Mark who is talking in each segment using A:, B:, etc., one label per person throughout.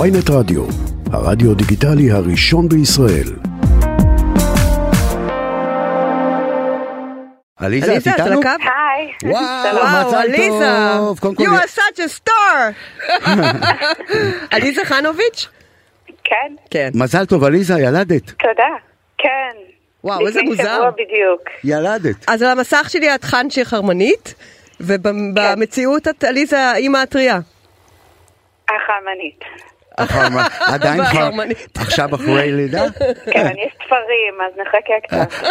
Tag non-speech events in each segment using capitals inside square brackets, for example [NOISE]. A: ויינט רדיו, הרדיו דיגיטלי הראשון בישראל.
B: עליזה, את
C: עליזה, את על
B: איתנו?
C: הקו?
D: היי,
B: וואו,
C: וואו,
B: אה, מזל
C: עליזה,
B: טוב. קודם כל,
C: you are such a
B: [LAUGHS]
C: star! עליזה חנוביץ'?
D: כן,
C: כן.
B: מזל טוב, עליזה, ילדת.
D: תודה, כן.
C: וואו,
D: [LAUGHS]
C: איזה
D: לפני
C: מוזר.
D: שבוע בדיוק.
B: ילדת.
C: אז על המסך שלי את חנצ'י חרמנית, ובמציאות את עליזה אימא הטריה.
D: החמנית.
B: החרמ- עדיין כבר,
C: והחרמנית.
B: עכשיו אחרי לידה?
D: כן, יש ספרים, אז נחכה
C: [LAUGHS]
D: קצת.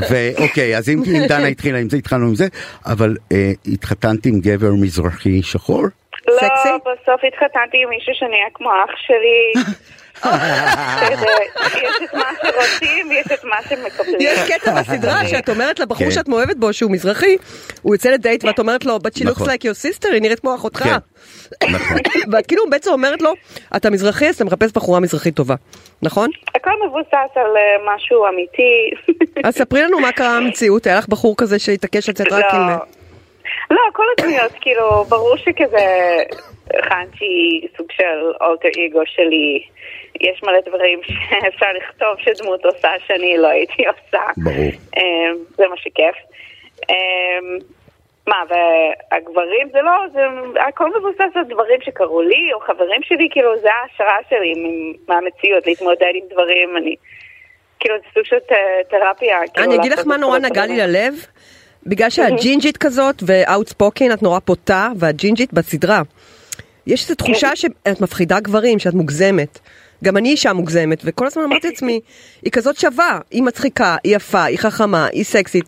B: ואוקיי, אוקיי, אז אם כי עם דנה התחילה עם זה, התחלנו עם זה, אבל אה, התחתנת עם גבר מזרחי שחור?
C: סקסי?
D: לא, בסוף התחתנתי עם מישהו שנהיה כמו אח
C: [LAUGHS]
D: שלי. בסדר, יש את מה שרוצים, יש את מה שמקבלים.
C: יש
B: [LAUGHS]
C: קטע בסדרה
D: [LAUGHS]
C: שאת אומרת לבחור
B: כן.
C: שאת מאוהבת בו שהוא מזרחי, הוא יוצא לדייט ואת אומרת לו, but she looks
B: נכון.
C: like your sister, היא נראית כמו אחותך.
B: כן. נכון.
C: [LAUGHS] ואת כאילו בעצם אומרת לו, אתה מזרחי אז אתה מחפש בחורה מזרחית טובה, נכון?
D: הכל מבוסס על אה, משהו אמיתי. [LAUGHS]
C: אז ספרי לנו מה קרה במציאות, היה לך בחור כזה שהתעקש לצאת רק
D: לא.
C: עם...
D: לא, כל
C: [COUGHS]
D: הדמויות, כאילו, ברור שכזה חנצ'י סוג של אולטר אגו שלי. יש מלא דברים שאפשר לכתוב שדמות עושה שאני לא הייתי עושה.
B: ברור.
D: אה, זה מה שכיף. אה, מה, והגברים זה לא, זה הכל מבוסס על דברים שקרו לי, או חברים שלי, כאילו, זה ההשראה שלי מ- מהמציאות, להתמודד עם דברים, אני... כאילו, זה סוג של ת- תרפיה. כאילו,
C: אני אגיד לך
D: לעשות
C: מה
D: את
C: נורא
D: כל
C: נגע לי
D: הדברים.
C: ללב, בגלל שאת ג'ינג'ית כזאת ואוטספוקן, את נורא בוטה, ואת ג'ינג'ית בסדרה. יש איזו
D: כן.
C: תחושה שאת מפחידה גברים, שאת מוגזמת. גם אני אישה מוגזמת, וכל הזמן
D: [LAUGHS]
C: אמרתי לעצמי, היא כזאת שווה, היא מצחיקה, היא יפה, היא חכמה, היא סקסית.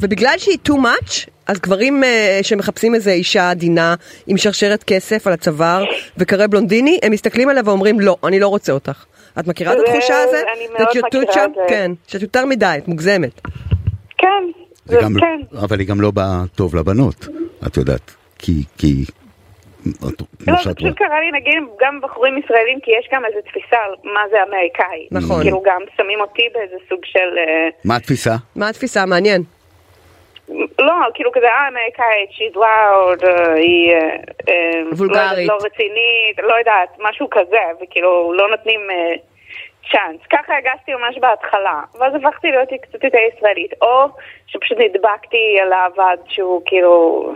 C: ובגלל שהיא too much, אז גברים uh, שמחפשים איזה אישה עדינה עם שרשרת כסף על הצוואר וקרא בלונדיני, הם מסתכלים עליה ואומרים, לא, אני לא רוצה אותך. את מכירה את
D: זה-
C: התחושה הזאת?
D: אני מאוד
C: קיוטוט
D: מכירה
C: שם?
D: את זה.
C: כן, שאת יותר מדי, את מוגזמת.
D: כן,
B: זה
D: זה
B: גם-
D: כן.
B: אבל היא גם לא באה טוב לבנות, את יודעת. כי, כי, את- כמו
D: לא, זה
B: שאת רואה.
D: פשוט קרה לי נגיד גם עם בחורים ישראלים, כי יש גם איזו תפיסה על מה זה אמריקאי.
C: נכון.
D: כאילו גם שמים אותי באיזה סוג של... אה,
B: מה התפיסה?
C: מה התפיסה? מעניין.
D: לא, כאילו כזה, אה, אמריקאית, she's loud, אה, היא... אה, אה,
C: וולגרית.
D: לא יודעת, לא רצינית, לא יודעת, משהו כזה, וכאילו לא נותנים אה, צ'אנס. ככה הרגשתי ממש בהתחלה, ואז הפכתי להיות קצת יותר ישראלית, או שפשוט נדבקתי עליו עד שהוא כאילו...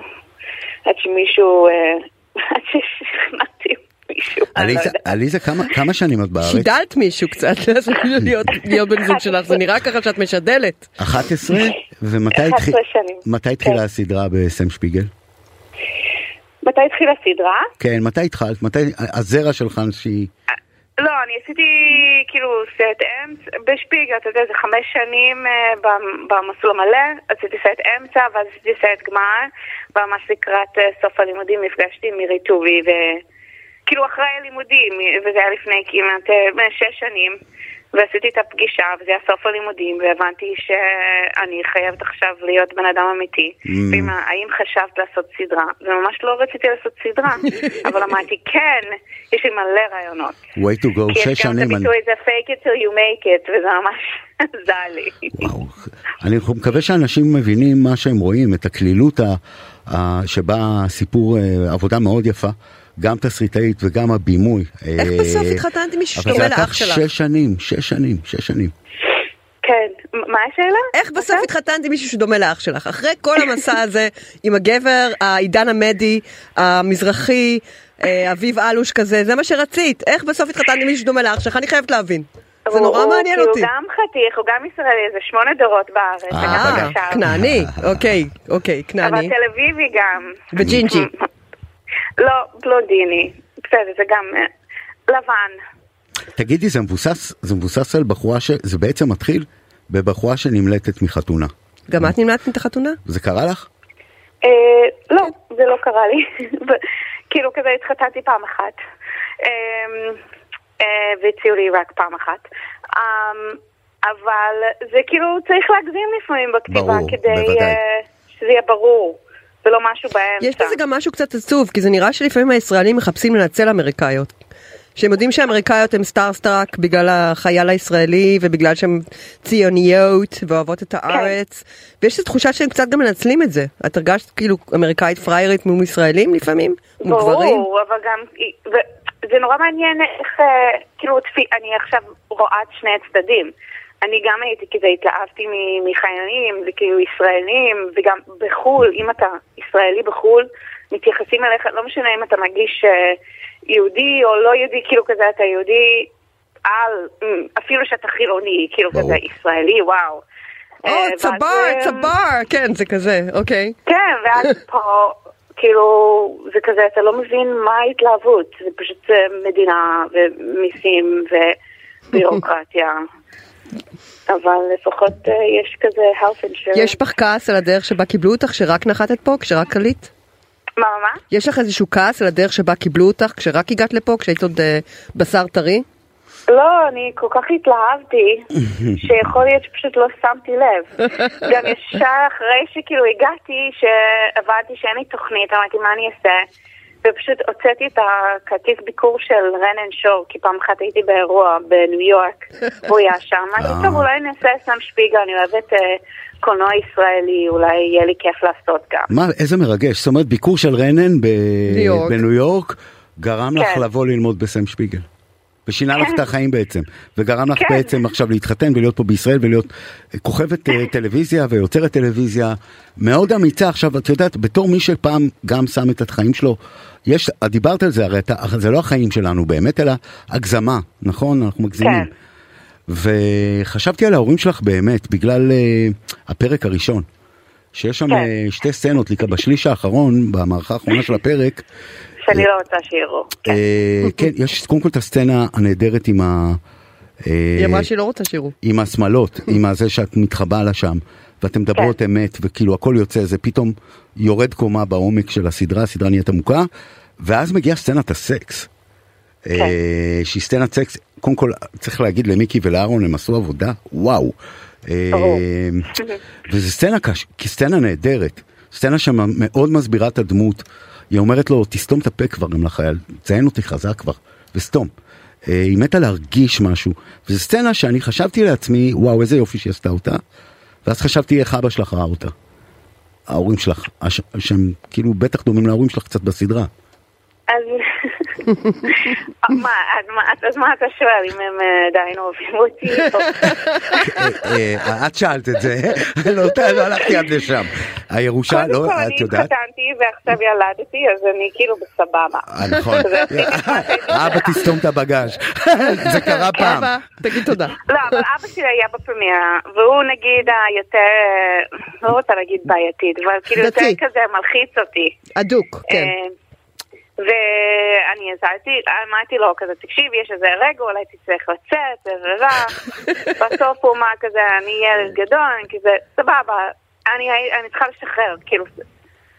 D: עד שמישהו... אה, [LAUGHS] עד ששכנעתי מישהו. אני לא
B: עליזה-
D: יודעת.
B: עליזה, כמה- כמה שנים את בארץ?
C: שידלת מישהו קצת, [LAUGHS] אז להיות- להיות בן זוג שלך, זה נראה ככה שאת משדלת.
B: 11? ומתי
D: 11
B: התחיל-
D: שנים.
B: מתי
D: כן.
B: התחילה הסדרה בסם שפיגל?
D: מתי התחילה הסדרה?
B: כן, מתי התחלת? מתי הזרע שלך שהיא...
D: לא, אני עשיתי כאילו סט אמצע בשפיגל, אתה יודע, זה חמש שנים אה, במ- במסלול המלא, עשיתי סט אמצע ואז עשיתי סט גמר, וממש לקראת אה, סוף הלימודים נפגשתי עם מירי טובי, וכאילו אחרי הלימודים, וזה היה לפני כמעט אה, שש שנים, ועשיתי את הפגישה, וזה היה סוף הלימודים, והבנתי שאני חייבת עכשיו להיות בן אדם אמיתי. ואמא, האם חשבת לעשות סדרה? וממש לא רציתי לעשות סדרה, אבל אמרתי, כן, יש לי מלא רעיונות.
B: way to go,
D: כי
B: שש
D: יש גם את
B: שנים. אני-
D: הביטוי זה fake it till you make it, וזה ממש [LAUGHS] עזר לי.
B: וואו. אני מקווה שאנשים מבינים מה שהם רואים, את הקלילות ה- ה- שבה הסיפור, אה, עבודה מאוד יפה, גם תסריטאית וגם הבימוי.
C: איך
B: אה,
C: בסוף התחתנת עם מישהו
B: אבל
C: שדומה
B: זה לקח
C: לאח שלך?
B: שש שנים, שש שנים, שש שנים.
D: כן, מ- מה השאלה?
C: איך בסוף
D: אוקיי.
C: התחתנת עם מישהו שדומה לאח שלך? אחרי כל המסע הזה, עם הגבר, העידן עמדי, המזרחי, אה, אביב אלוש כזה, זה מה שרצית. איך בסוף התחתנת עם מישהו שדומה לאח שלך? אני חייבת להבין. זה
D: הוא-
C: נורא
D: הוא-
C: מעניין
D: כי
C: אותי.
D: הוא כאילו גם חתיך, הוא גם ישראלי, זה שמונה דורות בארץ,
B: אה,
D: וגם
C: אה,
D: עכשיו.
C: כנעני, אוקיי, אוקיי,
D: אבל
C: כנעני.
D: תל אביבי גם.
C: וג'ינג'י.
D: [LAUGHS] לא, בלונדיני. בסדר, זה גם אה, לבן.
B: תגידי, זה מבוסס, זה מבוסס על בחורה ש... זה בעצם מתחיל בבחורה שנמלטת מחתונה.
C: גם את נמנעת את החתונה?
B: זה קרה לך?
D: אה, לא, זה לא קרה לי. [LAUGHS] ו- כאילו כזה התחתנתי פעם אחת, אה, אה, והציעו לי רק פעם אחת. אה, אבל זה כאילו, צריך להגזים לפעמים בכתיבה
B: ברור,
D: כדי
B: בוודאי.
D: אה, שזה יהיה ברור, ולא משהו באמצע.
C: יש בזה גם משהו קצת עצוב, כי זה נראה שלפעמים הישראלים מחפשים לנצל אמריקאיות. שהם יודעים שהאמריקאיות הן סטארסטראק בגלל החייל הישראלי ובגלל שהן ציוניות ואוהבות
D: כן.
C: את הארץ. ויש איזו תחושה שהם קצת גם מנצלים את זה. את הרגשת כאילו אמריקאית פריירית מול ישראלים לפעמים? מול גברים?
D: ברור, אבל גם... ו- זה נורא מעניין איך... אה, כאילו, תפי, אני עכשיו רואה את שני הצדדים. אני גם הייתי כזה, התלהבתי מ- מחיילים, וכאילו ישראלים, וגם בחו"ל, אם אתה ישראלי בחו"ל, מתייחסים אליך, לא משנה אם אתה מרגיש אה, יהודי או לא יהודי, כאילו כזה אתה יהודי על, אמ, אפילו שאתה חילוני, כאילו
B: ברור.
D: כזה ישראלי, וואו.
C: או,
D: אה, ואז,
C: צבר,
D: אה,
C: צבר! כן, זה כזה, אוקיי.
D: כן, ואז פה, כאילו, זה כזה, אתה לא מבין מה ההתלהבות, זה פשוט אה, מדינה ומיסים ובירוקרטיה. אבל לפחות אה, יש כזה health insurance.
C: יש בך כעס על הדרך שבה קיבלו אותך כשרק נחתת פה, כשרק עלית?
D: מה, מה, מה?
C: יש לך איזשהו כעס על הדרך שבה קיבלו אותך כשרק הגעת לפה, כשהיית עוד אה, בשר טרי?
D: לא, אני כל כך התלהבתי, שיכול להיות שפשוט לא שמתי לב. גם ישר אחרי שכאילו הגעתי, שהבנתי שאין לי תוכנית, אמרתי מה אני אעשה, ופשוט הוצאתי את הכרטיס ביקור של רן אנד שור, כי פעם אחת הייתי באירוע בניו יורק, והוא היה שם, אמרתי טוב אולי נעשה סם שפיגל, אני אוהבת אה, קולנוע ישראלי, אולי יהיה לי כיף לעשות גם.
B: מה, איזה מרגש. זאת אומרת, ביקור של רנן ב...
C: יורק.
B: בניו יורק גרם לך
D: כן.
B: לבוא ללמוד בסם שפיגל. ושינה לך את החיים בעצם. וגרם לך
D: כן.
B: בעצם עכשיו להתחתן ולהיות פה בישראל ולהיות כוכבת
D: [LAUGHS]
B: אה, טלוויזיה ויוצרת טלוויזיה. מאוד אמיצה. עכשיו, את יודעת, בתור מי שפעם גם שם את החיים שלו, יש, את דיברת על זה, הרי אתה, זה לא החיים שלנו באמת, אלא הגזמה, נכון? אנחנו מגזימים.
D: כן.
B: וחשבתי על ההורים שלך באמת, בגלל אה, הפרק הראשון. שיש שם
D: כן.
B: אה, שתי סצנות, ליקה, בשליש האחרון, במערכה האחרונה של הפרק,
D: שאני לא רוצה שיראו. כן.
B: אה, כן, יש קודם כל את הסצנה הנהדרת עם ה... אה,
C: היא אמרה שהיא לא רוצה שירו.
B: עם השמלות, עם הזה שאת מתחבאה לה שם, ואתן מדברות אמת, וכאילו הכל יוצא, זה פתאום יורד קומה בעומק של הסדרה, הסדרה נהיית עמוקה, ואז מגיעה סצנת הסקס. אה, שהיא סצנת סקס, קודם כל צריך להגיד למיקי ולאהרון, הם עשו עבודה, וואו. אה,
D: ברור. [LAUGHS]
B: וזו סצנה קש... כי סצנה נהדרת, סצנה שמאוד מסבירה את הדמות. היא אומרת לו, תסתום את הפה כבר גם לחייל, תציין אותי חזק כבר, וסתום. אה, היא מתה להרגיש משהו, וזו סצנה שאני חשבתי לעצמי, וואו, איזה יופי שהיא עשתה אותה, ואז חשבתי איך אבא שלך ראה אותה. ההורים שלך, הש... שהם כאילו בטח דומים להורים שלך קצת בסדרה.
D: אז [LAUGHS] מה, אז מה- אז מה אתה שואל, אם הם אה, עדיין אוהבים
B: [LAUGHS]
D: אותי? או-
B: אה,
D: כן.
B: אה, את שאלת את זה, [LAUGHS] לא לא הלכתי עד לשם. הירושה,
D: קודם כל
B: לא,
D: אני
B: את יודעת?
D: התחתנתי ועכשיו ילדתי, אז אני כאילו בסבבה.
B: אה, נכון.
D: זה הכי נחמד שהייתי
B: אבא
D: עושה.
B: תסתום את הבגז', זה קרה פעם.
C: אבא, תגיד תודה.
D: לא,
B: [LAUGHS]
D: אבל אבא שלי היה בפרמיירה, והוא נגיד היותר, אה, לא רוצה להגיד בעייתית, אבל כאילו יותר
C: דתי.
D: כזה מלחיץ אותי.
C: אדוק, כן.
D: אה, ואני עזרתי, אמרתי לו כזה, תקשיב, יש איזה רגע, אולי תצטרך לצאת, ורע.
C: [LAUGHS]
D: בסוף הוא אמר כזה, אני ילד גדול, אני כזה, סבבה, אני, אני צריכה לשחרר, כאילו, זה-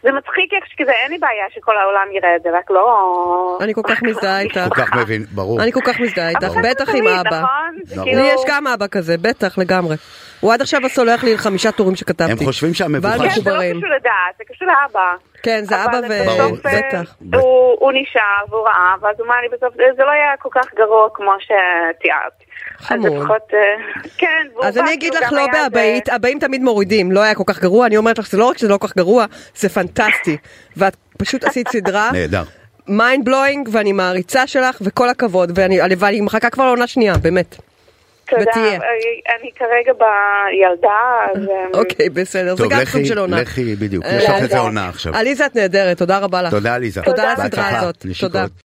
D: זה מצחיק איך שכזה, אין לי בעיה שכל העולם יראה את זה, רק לא...
C: אני כל
D: אה,
C: כך מזדהה איתך.
B: כל כך מבין, ברור.
C: אני כל כך מזדהה איתך,
D: אבל זה
C: בטח עם
D: תמיד,
C: אבא.
D: אה, נכון?
B: ברור.
D: כאילו-
C: לי יש גם אבא כזה, בטח, לגמרי. הוא עד עכשיו סולח לי על חמישה טורים שכתבתי.
B: הם חושבים שהמבוכה
C: ואל
D: כן,
B: שלך-
D: זה לא
C: מחוברים.
D: קשור לדעת, זה קשור לאבא.
C: כן, זה אבא ו...
B: ברור.
D: בסוף, אה,
C: בטח.
D: הוא- הוא נשאר והוא ראה, ואז הוא אמר לי בסוף, "אה, זה לא היה כל כך גרוע כמו שתיארת.
C: חמוד.
D: אז לפחות, אה, כן, והוא
C: אז
D: בא,
C: אני אגיד
D: והוא
C: לך
D: גם
C: לא
D: היה
C: באבאית,
D: זה-
C: אבאים תמיד מורידים, לא היה כל כך גרוע, אני אומרת לך שזה לא רק שזה לא כל כך גרוע, זה פנטסטי. ואת פשוט עשית סדרה,
B: [LAUGHS] נהדר.
C: מיינד בלואינג, ואני מעריצה שלך, וכל הכבוד, ואני הלוואי, היא מחכה כבר לעונה שנייה, באמת.
D: תודה,
C: ותהיה.
D: אה, אני כרגע בילדה, אז... אה,
C: אוקיי, בסדר, זה
B: טוב,
C: גם
B: לכי-
C: סוג של עונה.
B: לכי, בדיוק,
C: אה,
B: יש לך
D: אה,
B: איזה
D: אה.
B: עונה עכשיו.
C: עליזה, את נהדרת, תודה רבה לך.
B: תודה, עליזה.
C: תודה על הסדרה
B: בהצלחה.
C: הזאת.
B: נשיקות.
C: תודה.